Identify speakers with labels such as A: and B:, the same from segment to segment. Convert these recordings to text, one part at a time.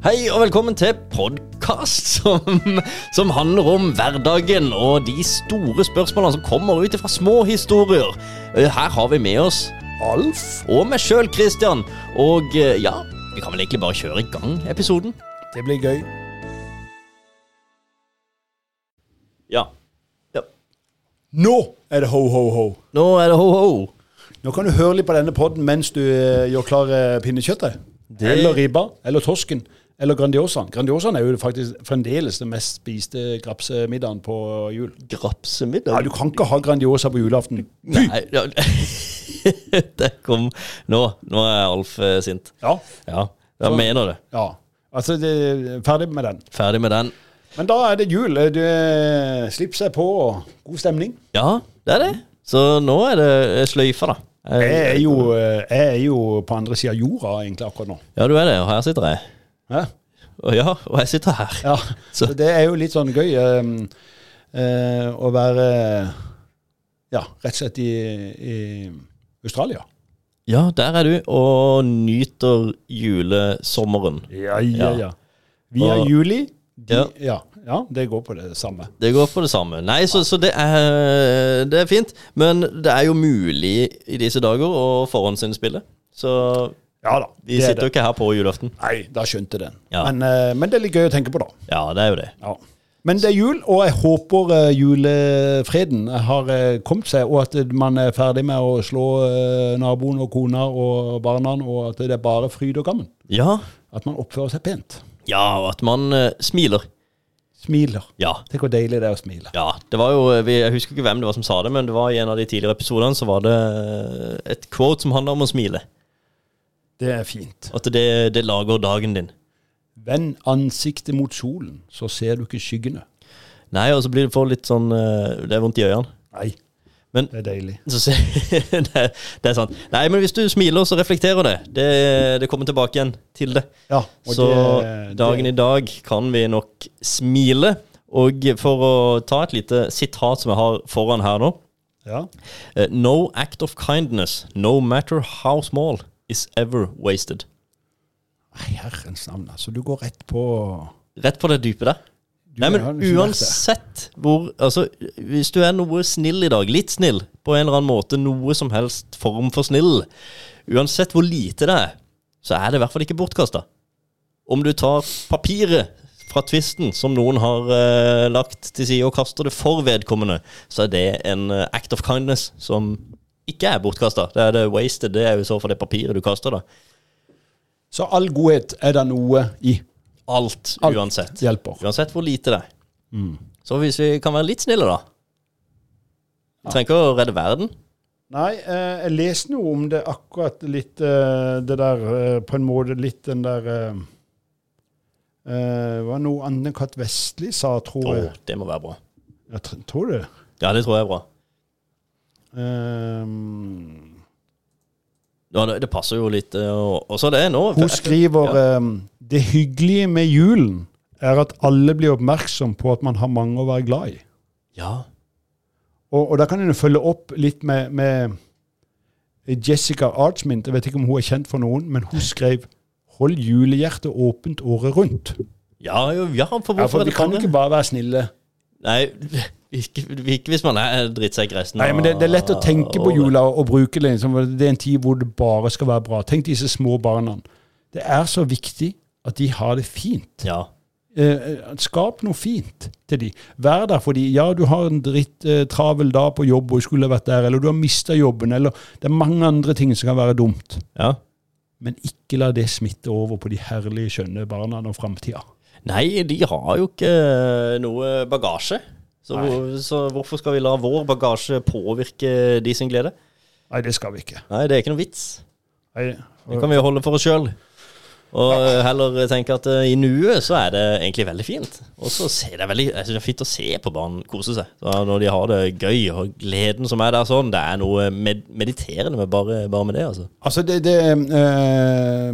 A: Hei og velkommen til podkast som, som handler om hverdagen og de store spørsmålene som kommer ut fra små historier. Eh, Her har vi med oss Alf og meg sjøl, Christian. Og eh, ja, vi kan vel egentlig bare kjøre i gang episoden?
B: Det blir gøy.
A: Ja. ja.
B: Nå er det ho-ho-ho.
A: Nå er det ho-ho.
B: Nå kan du høre litt på denne podden mens du eh, gjør klar eh, pinnekjøttet.
A: Det-
B: Eller ribba. Eller torsken. Eller Grandiosaen. Grandiosaen er jo faktisk fremdeles den mest spiste grapsemiddagen på jul. Ja,
A: Grapsemiddag.
B: Du kan ikke ha Grandiosa på julaften. Fy!
A: Nei, ja. Det kom Nå, nå er Alf eh, sint.
B: Ja.
A: Ja, jeg mener det.
B: ja. Altså, det, ferdig med den.
A: Ferdig med den.
B: Men da er det jul. Du, eh, slipp seg på. God stemning.
A: Ja, det er det. Så nå er det eh, sløyfa, da. Eh,
B: Jeg er jo, eh, jeg er jo på andre sida av jorda egentlig akkurat nå.
A: Ja, du er det, og her sitter jeg.
B: Hæ?
A: Og ja, og jeg sitter her.
B: Ja,
A: Så-
B: så det er jo litt sånn gøy ehm, eh, å være ja, rett og slett i, i Australia.
A: Ja, der er du, og nyter julesommeren.
B: Ja,
A: ja, ja.
B: Vi er
A: Og-
B: juli. De,
A: Ja.
B: ja. Ja, det går på det samme.
A: Det går på det samme. Nei, så, så det, er, det er fint. Men det er jo mulig i disse dager å forhåndsinnspille. Så
B: Ja da.
A: vi
B: det er
A: sitter jo
B: det.
A: ikke her på julaften.
B: Nei, da skjønte den.
A: Ja.
B: Men, eh, men det er litt gøy å tenke på, da.
A: Ja, det er jo det.
B: Ja. Men det er jul, og jeg håper eh, julefreden har eh, kommet seg, og at man er ferdig med å slå eh, naboen og kona og barna, og at det er bare fryd og gammen.
A: Ja,
B: At man oppfører seg pent.
A: ja og at man eh, smiler.
B: Smiler.
A: Ja.
B: Tenk hvor deilig det er å smile.
A: Ja, det var jo, vi- Jeg husker ikke hvem det var som sa det, men det var i en av de tidligere episodene så var det eh, et quote som handler om å smile.
B: Det er fint.
A: At det, det lager dagen din.
B: Vend ansiktet mot solen, så ser du ikke skyggene.
A: Nei, og så blir det for litt sånn eh, Det er vondt i øynene.
B: Nei,
A: Men
B: det er deilig.
A: så se, det, er- det er sant. Nei, men hvis du smiler, så reflekterer det. Det, det kommer tilbake igjen til det.
B: Ja, og
A: Så
B: det-
A: dagen i dag kan vi nok smile. Og for å ta et lite sitat som jeg har foran her nå.
B: Ja.
A: Eh, No act of kindness, no matter how small, is ever wasted.
B: Nei, herrens navn, altså. Du går rett på
A: Rett på det dype der.
B: du,
A: Nei, men
B: har liksom vært
A: uansett hvor Altså, hvis du er noe snill i dag, litt snill, på en eller annen måte, noe som helst form for snill, uansett hvor lite det er, så er det i hvert fall ikke bortkasta. Om du tar papiret fra tvisten som noen har eh, lagt til side, og kaster det for vedkommende, så er det en eh, act of kindness som ikke er bortkasta. Det er det wasted. Det er jo i så fall det papiret du kaster, da.
B: der. Så all godhet er det noe i.
A: Alt,
B: Alt.
A: uansett.
B: Hjelper.
A: Uansett hvor lite det er.
B: Mm.
A: Så hvis vi kan være litt snille, da Vi trenger ikke å redde verden.
B: Nei, eh, jeg leste noe om det akkurat litt eh, Det der eh, på en måte litt den der eh, eh, Det var noe Anne-Kat. Vestli sa, tror
A: Å,
B: jeg.
A: det må være bra.
B: jeg tr- tror det.
A: Ja, det tror jeg er bra.
B: Eh,
A: Ja, det, det passer jo litt. eh, Og, og så det nå
B: Hun skriver ehm, Det hyggelige med julen er at alle blir oppmerksom på at man har mange å være glad i.
A: Ja.
B: Og, og da kan en jo følge opp litt med, med Jessica Archmint. Jeg vet ikke om hun er kjent for noen, men hun skrev Hold julehjertet åpent året rundt.
A: Ja, jo, ja, for hvorfor
B: Ja, for
A: er
B: Vi
A: det
B: kan
A: bare-
B: ikke bare være snille.
A: Nei, ikke, ikke hvis man er drittsekk resten
B: Nei, men Det, det er lett å tenke på
A: av-
B: jula og bruke det. Liksom, det er en tid hvor det bare skal være bra. Tenk disse små barna. Det er så viktig at de har det fint.
A: Ja.
B: Eh, skap noe fint til de. Vær der for de. Ja, du har en dritt eh, travel dag på jobb og skulle vært der, eller du har mista jobben, eller det er mange andre ting som kan være dumt.
A: ja.
B: Men ikke la det smitte over på de herlige, skjønne barna og framtida.
A: Nei, de har jo ikke eh, noe bagasje. Så, hvor, så hvorfor skal vi la vår bagasje påvirke de sin glede?
B: Nei, det skal vi ikke.
A: Nei, det er ikke noe vits.
B: Nei,
A: Det kan vi jo holde for oss sjøl. Og eh, heller tenke at eh, i nuet så er det egentlig veldig fint. Og så ser det veldig, jeg synes det er fint å se på barn kose seg. Så når de har det gøy, og gleden som er der sånn, det er noe med, mediterende med bare, bare med det, altså.
B: Altså, det, det eh,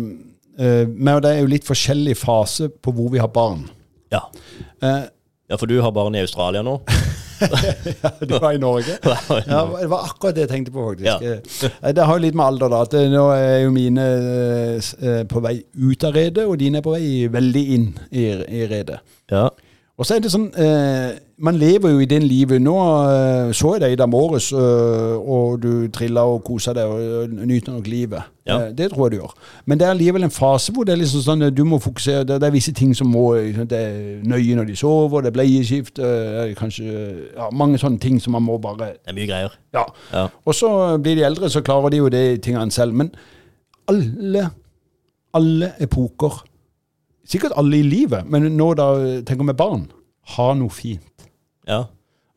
B: eh, meg og deg er jo litt forskjellig fase på hvor vi har barn.
A: Ja.
B: Eh,
A: ja, for du har barn i Australia nå.
B: det var i Norge.
A: var i
B: Ja, det var akkurat det jeg tenkte på, faktisk.
A: Ja.
B: Eh, Nei, det har jo litt med alder, da. At eh, nå er jo mine eh, s- eh, på vei ut av redet, og dine er på vei veldig inn i, i redet.
A: Ja.
B: Og så er det sånn eh, Man lever jo i det livet. Nå eh, så jeg deg i dag morges, eh, og du trilla og kosa deg og, og nyter nok livet.
A: Ja.
B: Eh, det tror jeg du gjør. Men det er allikevel en fase hvor det er liksom sånn eh, du må fokusere Det, det er visse ting som må liksom, Det er nøye når de sover, det er bleieskift, eh, kanskje ja, Mange sånne ting som man må bare
A: Det er mye greier.
B: Ja.
A: Ja.
B: Og så blir de eldre, så klarer de jo de tingene selv. Men alle, alle epoker, sikkert alle i livet, men nå da tenker vi barn, har noe fint.
A: Ja.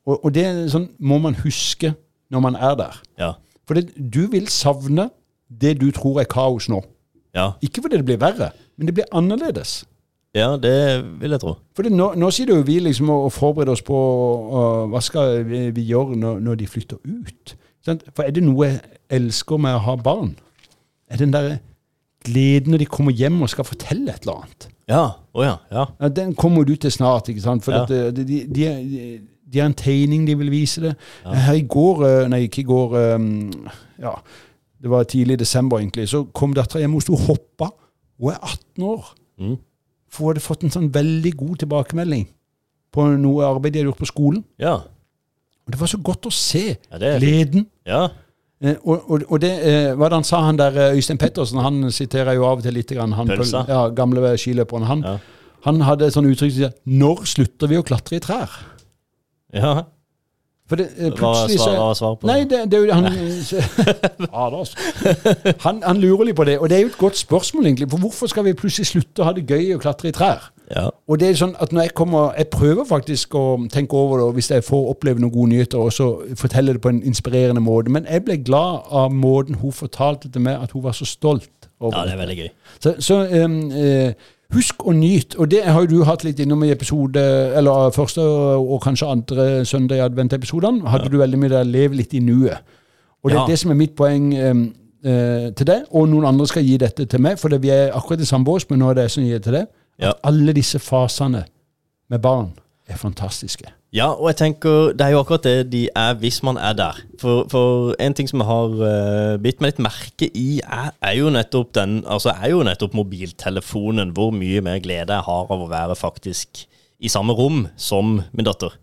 B: Og, og det er sånn må man huske når man er der.
A: Ja.
B: For det, du vil savne det du tror er kaos nå.
A: Ja.
B: Ikke fordi det blir verre, men det blir annerledes.
A: ja, det vil jeg tro.
B: For det, nå, nå sier det jo vi liksom å, å forberede oss på å- å- hva skal vi, vi gjøre når, når de flytter ut. Sant? For er det noe jeg elsker med å ha barn? Er den der gleden når de kommer hjem og skal fortelle et eller annet.
A: Ja. Å ja. Ja.
B: Ja, den kommer du til snart, ikke sant? For
A: Ja.
B: at, eh, de, de, de, de har en tegning de vil vise det. Her i går, eh, nei ikke i går, eh, ja, det var tidlig i desember egentlig, så kom datteren hjem og stod og hoppet. Hun er 18 år.
A: Mm.
B: For hun hadde fått en sånn veldig god tilbakemelding på noe arbeid de hadde gjort på skolen.
A: Ja.
B: Og det var så godt å se
A: Ja, det er
B: gleden.
A: ja.
B: Eh, og, og, og det, eh, hva er det han sa han der, eh, Øystein Pettersen, han siterer jo av og til litt grann, han,
A: Pølsa.
B: ja, gamle skiløperen, han,
A: Ja.
B: han hadde et sånt uttrykk som sier, når slutter vi å klatre i trær?
A: ja.
B: For det,
A: Hva
B: eh,
A: er
B: plutselig så
A: svar, hva er svar på
B: Nei, det, det er jo det han Fader, altså. Han, han lurer litt på det, og det er jo et godt spørsmål, egentlig. For hvorfor skal vi plutselig slutte å ha det gøy å klatre i trær?
A: Ja.
B: Og det er sånn at når jeg kommer Jeg prøver faktisk å tenke over det, og hvis jeg får oppleve noen gode nyheter, og så fortelle det på en inspirerende måte. Men jeg ble glad av måten hun fortalte til meg at hun var så stolt over.
A: ja, det er veldig gøy.
B: Så, så em, eh, husk å nyte. Og det har jo du hatt litt innom i episode Eller eh, første og kanskje andre søndag i advent-episodene. Hadde du veldig mye der 'lev litt i nuet'. Og det er
A: Ja.
B: det som er mitt poeng em, eh, til deg, og noen andre skal gi dette til meg, for det, vi er akkurat i samme bås, men nå er det jeg som gir det til deg.
A: Ja.
B: At alle disse fasene med barn er fantastiske.
A: Ja, og jeg tenker Det er jo akkurat det de er hvis man er der. For, for en ting som jeg har eh, bitt meg litt merke i, er, er jo nettopp den Altså er jo nettopp mobiltelefonen. Hvor mye mer glede jeg har av å være faktisk i samme rom som min datter.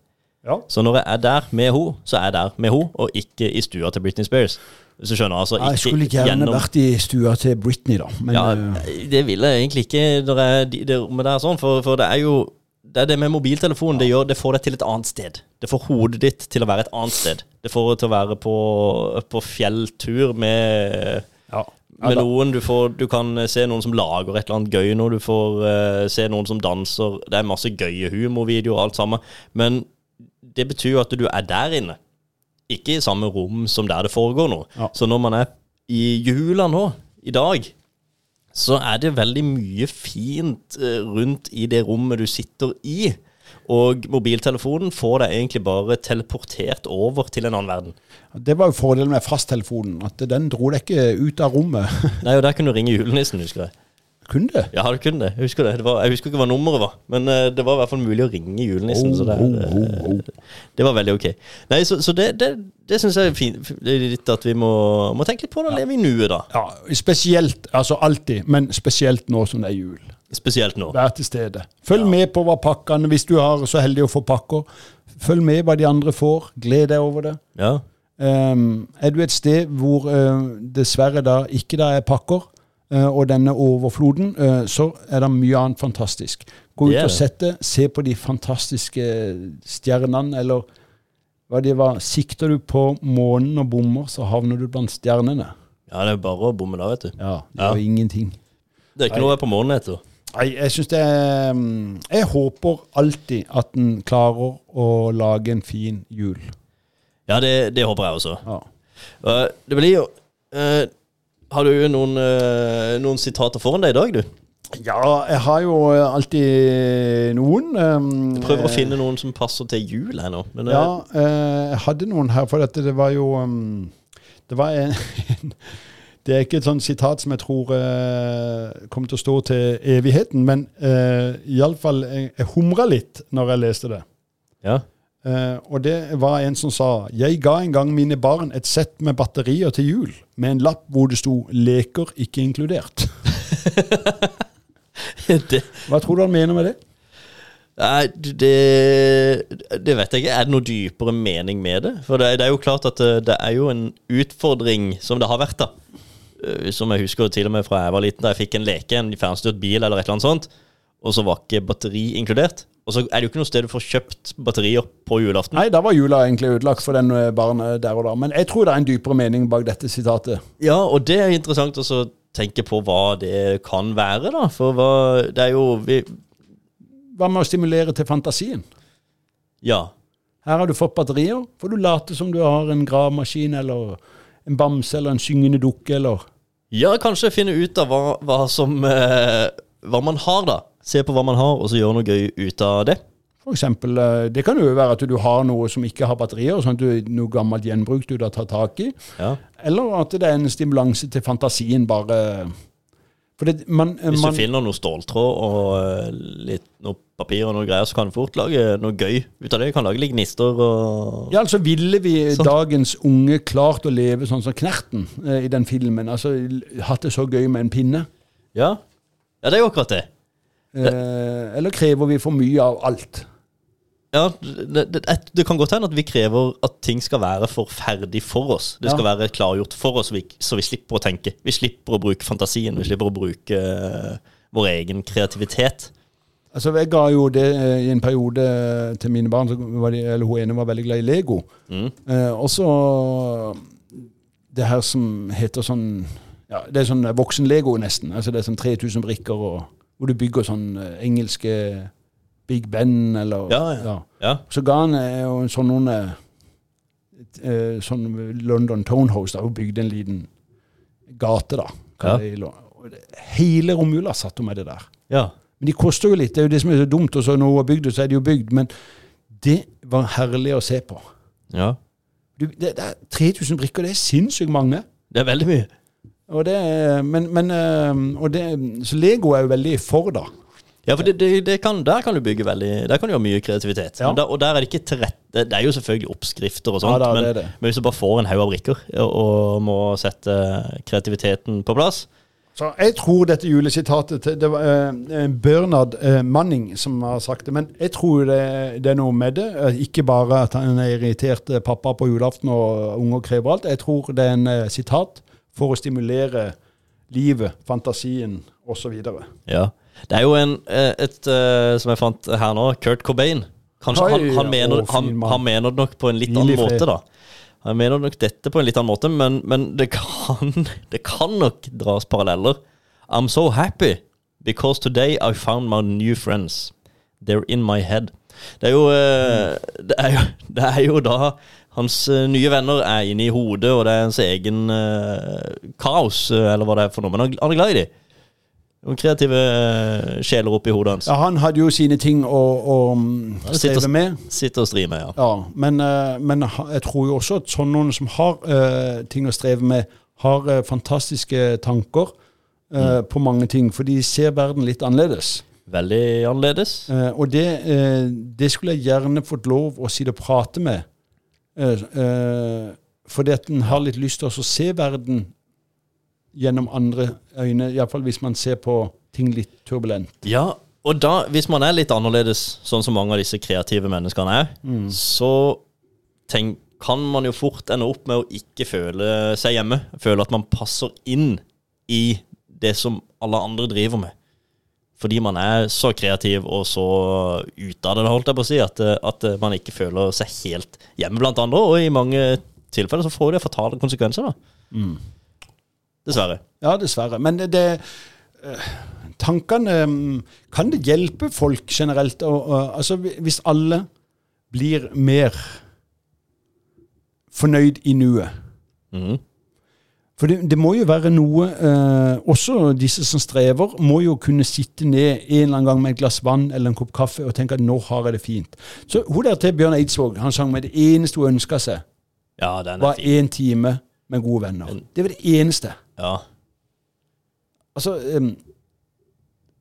B: Ja.
A: Så når jeg er der med henne, så er jeg der med henne, og ikke i stua til Britney Spears. Hvis du skjønner, altså ikke
B: Jeg skulle gjerne
A: gjennom
B: vært i stua til Britney, da. Men
A: ja,
B: eh,
A: det vil jeg egentlig ikke når jeg, de- det rommet der sånn, for, for det er jo det, er det med mobiltelefonen det, gjør, det får deg til et annet sted. Det får hodet ditt til å være et annet sted. Det får det til å være på, på fjelltur med,
B: ja.
A: med noen. Du, får, du kan eh, se noen som lager et eller annet gøy nå. Du får eh, se noen som danser. Det er masse gøye humorvideoer og alt sammen. Men det betyr jo at du er der inne. Ikke i samme rom som der det foregår nå.
B: Ja.
A: Så når man er i jula nå, i dag, så er det veldig mye fint eh, rundt i det rommet du sitter i. Og mobiltelefonen får deg egentlig bare teleportert over til en annen verden.
B: Det var jo fordelen med fasttelefonen, at den dro deg ikke ut av rommet.
A: Nei, og der kunne du ringe julenissen, husker jeg.
B: Kunne det?
A: Ja, du kunne det. Jeg husker, det. det var, jeg husker ikke hva nummeret var, men eh, det var i hvert fall mulig å ringe julenissen. så det, eh, det var veldig ok. Nei, Så, så det, det, det syns jeg er fint. Det er litt at vi må, må tenke litt på det og leve i nuet, da.
B: Ja, spesielt, altså alltid, men spesielt nå som det er jul.
A: Spesielt nå.
B: Vær til stede. Følg med på hva pakkene, hvis du er så heldig å få pakker. Følg med hva de andre får. Gled deg over det.
A: Ja.
B: Ehm, er du et sted hvor eh, dessverre da ikke da er pakker, eh, og denne overfloden, eh, så er det mye annet fantastisk. Gå
A: Det
B: ut
A: er
B: og
A: det.
B: sett det. Se på de fantastiske stjernene, eller hva det var. Sikter du på månen og bommer, så havner du blant stjernene.
A: ja, det er bare å bomme da, vet du.
B: Ja, det
A: Ja.
B: var ingenting.
A: Det er ikke noe jeg er på månen etter.
B: Nei, jeg syns det er mm, Jeg håper alltid at en klarer å lage en fin jul.
A: Ja, det, det håper jeg også.
B: Ja.
A: Eh, det blir jo eh, Har du noen, eh, noen sitater foran deg i dag, du?
B: Ja, jeg har jo eh, alltid noen. ehm,
A: Prøver å
B: eh,
A: finne noen som passer til jul her nå. Men, eh,
B: Ja, eh, jeg hadde noen her, for dette, det var jo ehm, Det var en Det er ikke et sånt sitat som jeg tror eh, kommer til å stå til evigheten, men eh, iallfall jeg, jeg humra litt når jeg leste det.
A: ja.
B: Eh, og det var en som sa Jeg ga en gang mine barn et sett med batterier til jul, med en lapp hvor det sto 'leker ikke inkludert'.
A: det,
B: Hva tror du han mener med det?
A: Nei, det, det vet jeg ikke. Er det noe dypere mening med det? For det, er- det er jo klart at eh, det er jo en utfordring som det har vært, da. Eh, Som jeg husker til og med fra jeg var liten, da jeg fikk en leke, en fjernstyrt bil eller et eller annet sånt, og så var ikke batteri inkludert. Og så er det jo ikke noe sted du får kjøpt batterier på julaften.
B: Nei, da var jula egentlig ødelagt for den eh, barnet der og da. Men jeg tror det er en dypere mening bak dette sitatet.
A: Ja, og det er interessant også å tenke på hva det kan være, da. For hva Det er jo vi,
B: Hva med å stimulere til fantasien?
A: Ja.
B: Her har du fått batterier, for du later som du har en gravemaskin eller en bamse eller en syngende dukke eller
A: Ja, kanskje finne ut av hva, hva som eh, Hva man har, da. Se på hva man har, og så gjøre noe gøy ut av det.
B: For eksempel, eh, det kan jo være at du har noe som ikke har batterier, sånn at du noe gammelt gjenbruk du da tar tak i.
A: Ja.
B: Eller at det er en stimulanse til fantasien, bare For det, man,
A: Hvis
B: man,
A: du finner noe ståltråd og eh, litt noe papir og noe greier, så kan du fort lage noe gøy ut av det. Du kan lage litt gnister og
B: Ja, altså Ville vi
A: Sånn.
B: dagens unge klart å leve sånn som Knerten eh, i den filmen? Altså, l- Hatt det så gøy med en pinne?
A: Ja, ja det er jo akkurat det.
B: Eh, eller krever vi for mye av alt?
A: Ja, det, det, et- det kan godt hende at vi krever at ting skal være for ferdig for oss. Det skal
B: Ja.
A: være klargjort for oss, så vi, så vi slipper å tenke. Vi slipper å bruke fantasien. Vi slipper å bruke eh, vår egen kreativitet.
B: Altså, Jeg ga jo det eh, i en periode eh, til mine barn, så var de, eller hun ene var veldig glad i Lego.
A: Mm.
B: Eh, og så det her som heter sånn ja, Det er sånn voksen-lego, nesten. Altså Det er sånn 3000 brikker, og, hvor du bygger sånn eh, engelske Big Ben, eller
A: Ja, ja. Ja.
B: Så ga han eh, jo en sånn noen eh, t- eh, Sånn London Tonehouse, da, og bygde en liten gate, da.
A: Ja.
B: kaller de lo- og det- Hele romjula satt hun med det der.
A: ja.
B: Men de koster jo litt. Det er jo det som er så dumt. Og så når hun har bygd det, så er det jo bygd. Men det var herlig å se på.
A: Ja.
B: Du, det, det er 3000 brikker, det er sinnssykt mange.
A: Det er veldig mye.
B: Og det, er- men, men, eh, og det, så Lego er jo veldig for, da.
A: Ja, for det, det, det kan, der kan du bygge veldig Der kan du ha mye kreativitet.
B: Ja.
A: Men der, og der er det ikke til rette Det er jo selvfølgelig oppskrifter og sånt,
B: Ja, da,
A: men,
B: det er det.
A: men hvis du bare får en haug av brikker og, og må sette kreativiteten på plass
B: Så jeg tror dette julesitatet til- Det var eh, Bernhard eh, Manning som har sagt det. Men jeg tror det, det er noe med det. Eh, Ikke bare at han er irritert eh, pappa på julaften og unger krever alt. Jeg tror det er en eh, sitat for å stimulere livet, fantasien osv.
A: Ja. Det er jo en, eh, et eh, som jeg fant her nå, Kurt Cobain. Kanskje
B: Oi,
A: han, han, mener,
B: å, fin
A: han,
B: mann.
A: han mener det nok på en litt
B: Hvil
A: annen
B: i fred.
A: måte, da. Han mener nok dette på en litt annen måte, men, men det, kan, det kan nok dras paralleller. I'm so happy because today I found my new friends. They're in my head. Det er jo, eh,
B: Mm.
A: det er jo, det er jo da hans eh, nye venner er inne i hodet, og det er hans egen eh, kaos, eh, eller hva det er for noe. Men han, han er glad i dem. Noen kreative eh, sjeler oppi hodet hans.
B: Ja, han hadde jo sine ting å, å mm,
A: sitter-
B: streve med.
A: Sitter og streamer, ja.
B: Ja, men, eh, men ha- jeg tror jo også at sånn noen som har eh, ting å streve med, har eh, fantastiske tanker eh, på mange ting. For de ser verden litt annerledes.
A: Veldig annerledes.
B: Eh, og det, eh, det skulle jeg gjerne fått lov å sitte og prate med. Eh, eh, fordi at en har litt lyst til å se verden gjennom andre øyne. Iallfall hvis man ser på ting litt turbulent.
A: Ja, og da, hvis man er litt annerledes, sånn som mange av disse kreative menneskene er, så tenk, kan man jo fort ende opp med å ikke føle seg hjemme. Føle at man passer inn i det som alle andre driver med. Fordi man er så kreativ og så ute av det, holdt jeg på å si, at, at man ikke føler seg helt hjemme blant andre. Og i mange tilfeller så får det fatale konsekvenser, da. Dessverre.
B: Ja, dessverre. Men det, det eh, Tankene mm, Kan det hjelpe folk generelt? å- å- altså, hvi- hvis alle blir mer fornøyd i nuet.
A: Mhm.
B: For det, det må jo være noe eh, Også disse som strever, må jo kunne sitte ned en eller annen gang med et glass vann eller en kopp kaffe og tenke at nå har jeg det fint. Så hun der til Bjørn Eidsvåg, han sang med det eneste hun ønska seg,
A: Ja, den er
B: var
A: fin.
B: én time med gode venner. Det var det eneste.
A: Ja.
B: Altså, ehm,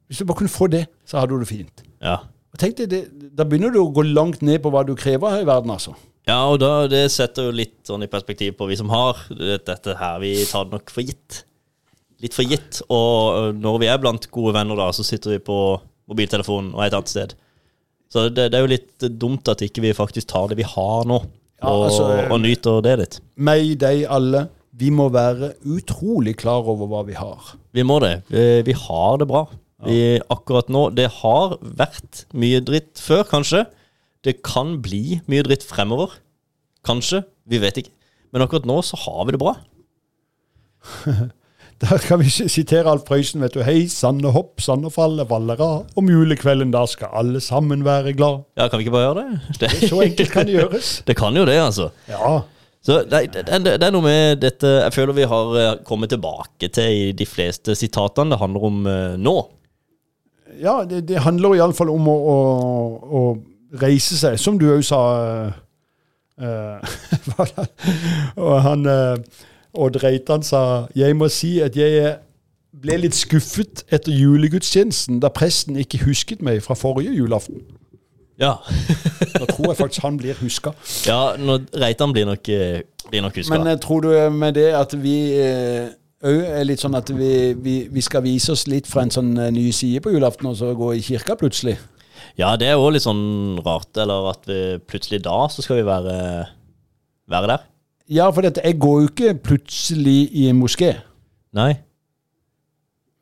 B: hvis du bare kunne få det, så hadde du det fint.
A: ja.
B: Og tenk deg, det, Da begynner du å gå langt ned på hva du krever her i verden, altså.
A: Ja, og da, det setter jo litt sånn i perspektiv på vi som har det- dette her. Vi tar det nok for gitt. Litt for gitt. Og ø, når vi er blant gode venner, da, så sitter vi på mobiltelefonen og er et annet sted. Så det, det er jo litt dumt at ikke vi faktisk tar det vi har nå,
B: Ja,
A: og,
B: altså,
A: og nyter det litt.
B: Meg, deg, alle. Vi må være utrolig klar over hva vi har.
A: Vi må det. Vi, vi har det bra. Vi, akkurat nå Det har vært mye dritt før, kanskje. Det kan bli mye dritt fremover. Kanskje. Vi vet ikke. Men akkurat nå så har vi det bra.
B: Der kan vi sitere Alf Prøysen, vet du. Hei, sanne hopp, sanne falle, vallera. Om julekvelden da skal alle sammen være glad.
A: Ja, Kan vi ikke bare gjøre det? Det,
B: Så enkelt kan det gjøres.
A: det kan jo det, altså.
B: Ja.
A: Så nei, det, det, det er noe med dette Jeg føler vi har eh, kommet tilbake til i de fleste sitatene det handler om eh, nå.
B: Ja, det, det handler iallfall om å, å, å reise seg, som du òg sa eh, eh, hva da? Og han eh, Odd Reitan sa Jeg må si at jeg ble litt skuffet etter julegudstjenesten, da presten ikke husket meg fra forrige julaften.
A: Ja,
B: Da tror jeg faktisk han blir huska.
A: ja nå, Reitan blir nok, eh, blir nok huska.
B: Men eh, tror du med det at vi òg er litt sånn at vi, vi, vi skal vise oss litt fra en sånn eh, ny side på julaften, og så gå i kirka plutselig?
A: Ja, det er òg litt sånn rart. Eller at vi plutselig da så skal vi være, være der.
B: Ja, for dette, jeg går jo ikke plutselig i en moské.
A: Nei.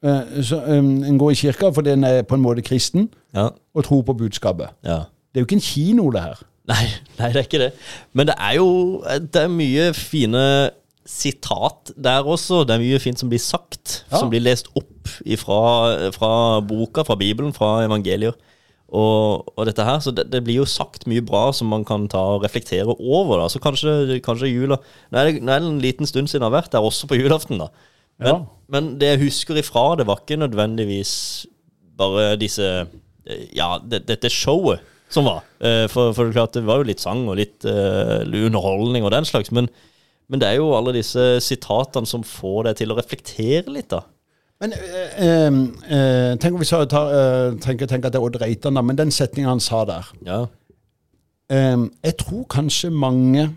B: Eh, Så, eh, en går i kirka fordi en er på en måte kristen
A: Ja.
B: og tror på budskapet.
A: ja.
B: Det er jo ikke en kino, det her.
A: Nei, nei, det er ikke det. Men det er jo det er mye fine sitat der også. Det er mye fint som blir sagt,
B: Ja.
A: som blir lest opp ifra, fra boka, fra Bibelen, fra evangelier. Og, og dette her, så det, det blir jo sagt mye bra som man kan ta og reflektere over. da, Så kanskje, kanskje jula Nå er, det, nå er det en liten stund siden jeg har vært der, også på julaften. da. Men,
B: Ja.
A: men det jeg husker ifra, det var ikke nødvendigvis bare disse eh, Ja, det, dette showet som var. Eh, For, for det, er klart, det var jo litt sang og litt eh, underholdning og den slags. Men, men det er jo alle disse sitatene som får deg til å reflektere litt, da.
B: Men eh, eh, eh, tenk om vi sa, tar, eh, tenker, tenker at det er Odd Reitan, da, men den setningen han sa der
A: Ja.
B: eh, Jeg tror kanskje mange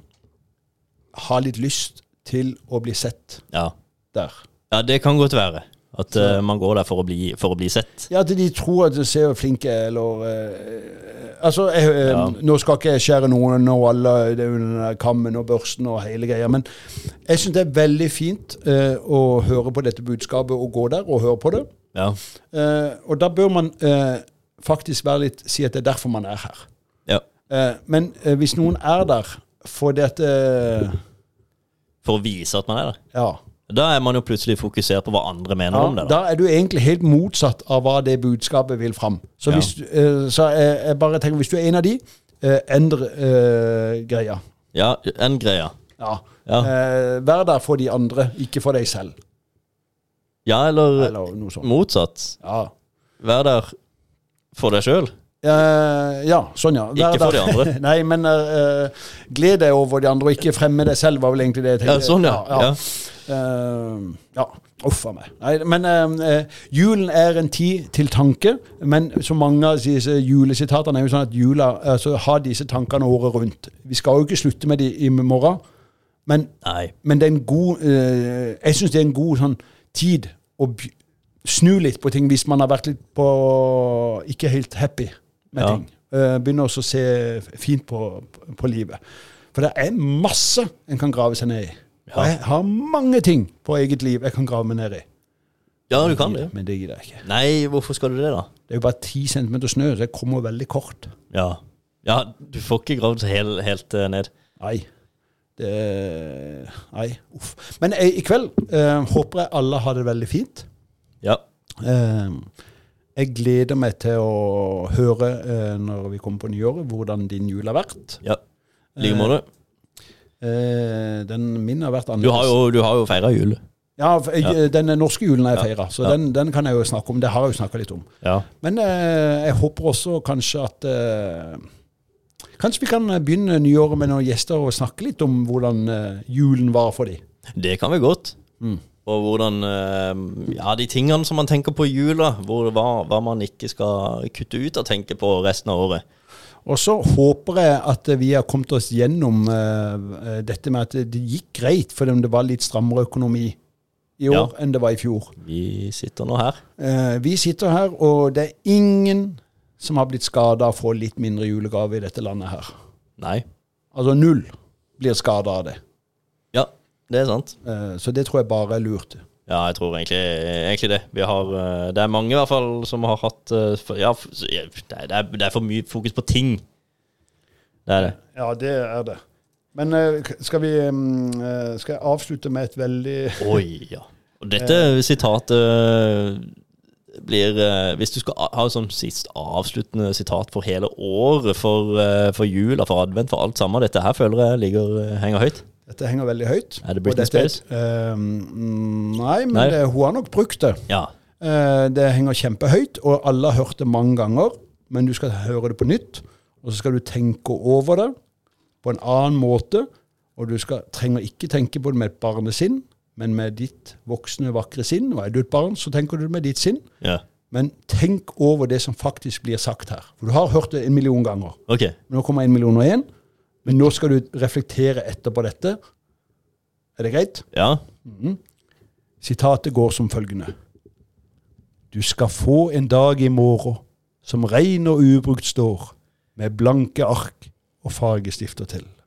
B: har litt lyst til å bli sett
A: Ja,
B: der.
A: ja det kan godt være. At eh, man går der for å bli, for å bli sett.
B: Ja, at de tror at de ser flinke eller eh, Altså, jeg, eh, nå skal ikke jeg skjære noen og alle det er jo den der kammen og børsten og hele greia, men jeg syns det er veldig fint eh, å høre på dette budskapet og gå der og høre på det.
A: Ja.
B: Eh, og da bør man eh, faktisk være litt si at det er derfor man er her.
A: ja.
B: Eh, men eh, hvis noen er der fordi at eh,
A: For å vise at man er der.
B: Ja.
A: Da er man jo plutselig fokusert på hva andre mener om det. da.
B: da er du egentlig helt motsatt av hva det budskapet vil fram. Så,
A: Ja.
B: hvis, du- eh, så jeg, jeg bare tenker, hvis du er en av de, eh, endre eh, greia.
A: Ja, en greie.
B: Ja.
A: Ja.
B: Eh, vær der for de andre, ikke for deg selv.
A: Ja, eller
B: Eller noe sånt.
A: motsatt.
B: Ja,
A: Vær der for deg sjøl.
B: eh, ja sånn ja. Vær
A: Ikke for
B: der.
A: de andre.
B: Nei, men eh, gled deg over de andre, og ikke fremme deg selv, var vel egentlig det jeg
A: Ja,
B: tenkte.
A: sånn, ja. ja.
B: Eh, ja. Uff a meg. Nei, men eh, eh, julen er en tid til tanke. Men så mange av disse julesitatene er jo sånn at jula altså, har disse tankene året rundt. Vi skal jo ikke slutte med de i morgen, men,
A: Nei.
B: men det er en god eh, Jeg syns det er en god sånn tid å by- snu litt på ting hvis man har vært litt på ikke helt happy med
A: Ja.
B: ting. Eh, begynne også å se fint på, på livet. For det er masse en kan grave seg ned i. Og
A: Ja.
B: jeg har mange ting på eget liv jeg kan grave meg ned i.
A: Ja, du kan det.
B: Men det gidder jeg ikke.
A: Nei, hvorfor skal du det, da?
B: Det er jo bare ti centimeter snø, så jeg kommer veldig kort.
A: Ja, ja du får ikke gravd helt, helt eh, ned.
B: Nei. Det Nei. Uff. Men eh, i kveld eh, håper jeg alle har det veldig fint.
A: Ja.
B: Eh, jeg gleder meg til å høre eh, når vi kommer på nyåret, hvordan din jul har vært.
A: ja. I like måte.
B: Eh, den min har vært
A: Du
B: annerledes.
A: har jo, du har jo feira jul.
B: Ja, f- jeg, den norske julen har jeg feira, så
A: Ja.
B: den, den kan jeg jo snakke om. Det har jeg jo snakka litt om.
A: Ja.
B: Men eh, jeg håper også kanskje at eh, Kanskje vi kan begynne nyåret med noen gjester og snakke litt om hvordan eh, julen var for dem.
A: Det kan vi godt. Og hvordan eh, Ja, de tingene som man tenker på i jula, hvor, hva, hva man ikke skal kutte ut og tenke på resten av året.
B: Og så håper jeg at vi har kommet oss gjennom eh, dette med at det gikk greit, for om det var litt strammere økonomi i år
A: Ja.
B: enn det var i fjor.
A: Vi sitter nå her.
B: Eh, vi sitter her, og det er ingen som har blitt skada av å få litt mindre julegave i dette landet her.
A: Nei.
B: Altså null blir skada av det.
A: Ja, det er sant.
B: Eh, så det tror jeg bare er lurt.
A: Ja, jeg tror egentlig, egentlig det. Vi har, eh, det er mange i hvert fall som har hatt eh, for, Ja, f- s- ja, det er, det er- det er for mye fokus på ting. Det er det.
B: Ja, det er det. Men eh, k- skal vi mm, eh, Skal jeg avslutte med et veldig
A: Oi, ja. Eh. Og dette sitatet blir eh, Hvis du skal a- ha et sånn sist avsluttende sitat for hele året, for, eh, for jula, for advent, for alt sammen Dette her føler jeg ligger, eh, henger høyt.
B: Dette henger veldig høyt.
A: Er det Britney
B: Og dette er et-
A: Spears?
B: eh, mm, nei, men
A: Nei.
B: Det, hun har nok brukt det.
A: Ja.
B: Eh, det henger kjempehøyt, og alle har hørt det mange ganger. Men du skal høre det på nytt, og så skal du tenke over det på en annen måte. Og du skal, trenger ikke tenke på det med et barnesinn, men med ditt voksne, vakre sinn. Og er du et barn, så tenker du det med ditt sinn.
A: ja.
B: Men tenk over det som faktisk blir sagt her. For du har hørt det en million ganger.
A: Ok.
B: Nå kommer en million og en, men nå skal du reflektere etterpå dette. Er det greit?
A: Ja.
B: Sitatet går som følgende. Du skal få en dag i morgen som rein og ubrukt står, med blanke ark og fargestifter til.